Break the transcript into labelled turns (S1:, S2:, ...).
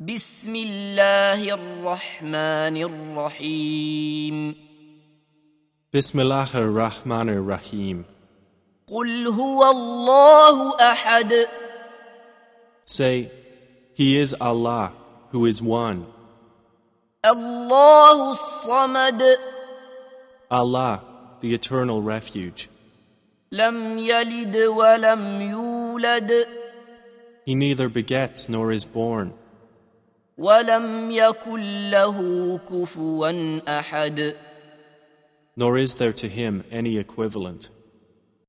S1: بسم الله الرحمن الرحيم
S2: Bismillah ar-Rahman ar-Rahim.
S1: قل هو الله احد
S2: Say, He is Allah, who is one,
S1: الله الصمد
S2: Allah, the eternal refuge.
S1: لم يلد ولم يولد
S2: He neither begets nor is born,
S1: ولم يكن له كفوا احد
S2: nor is there to him any equivalent.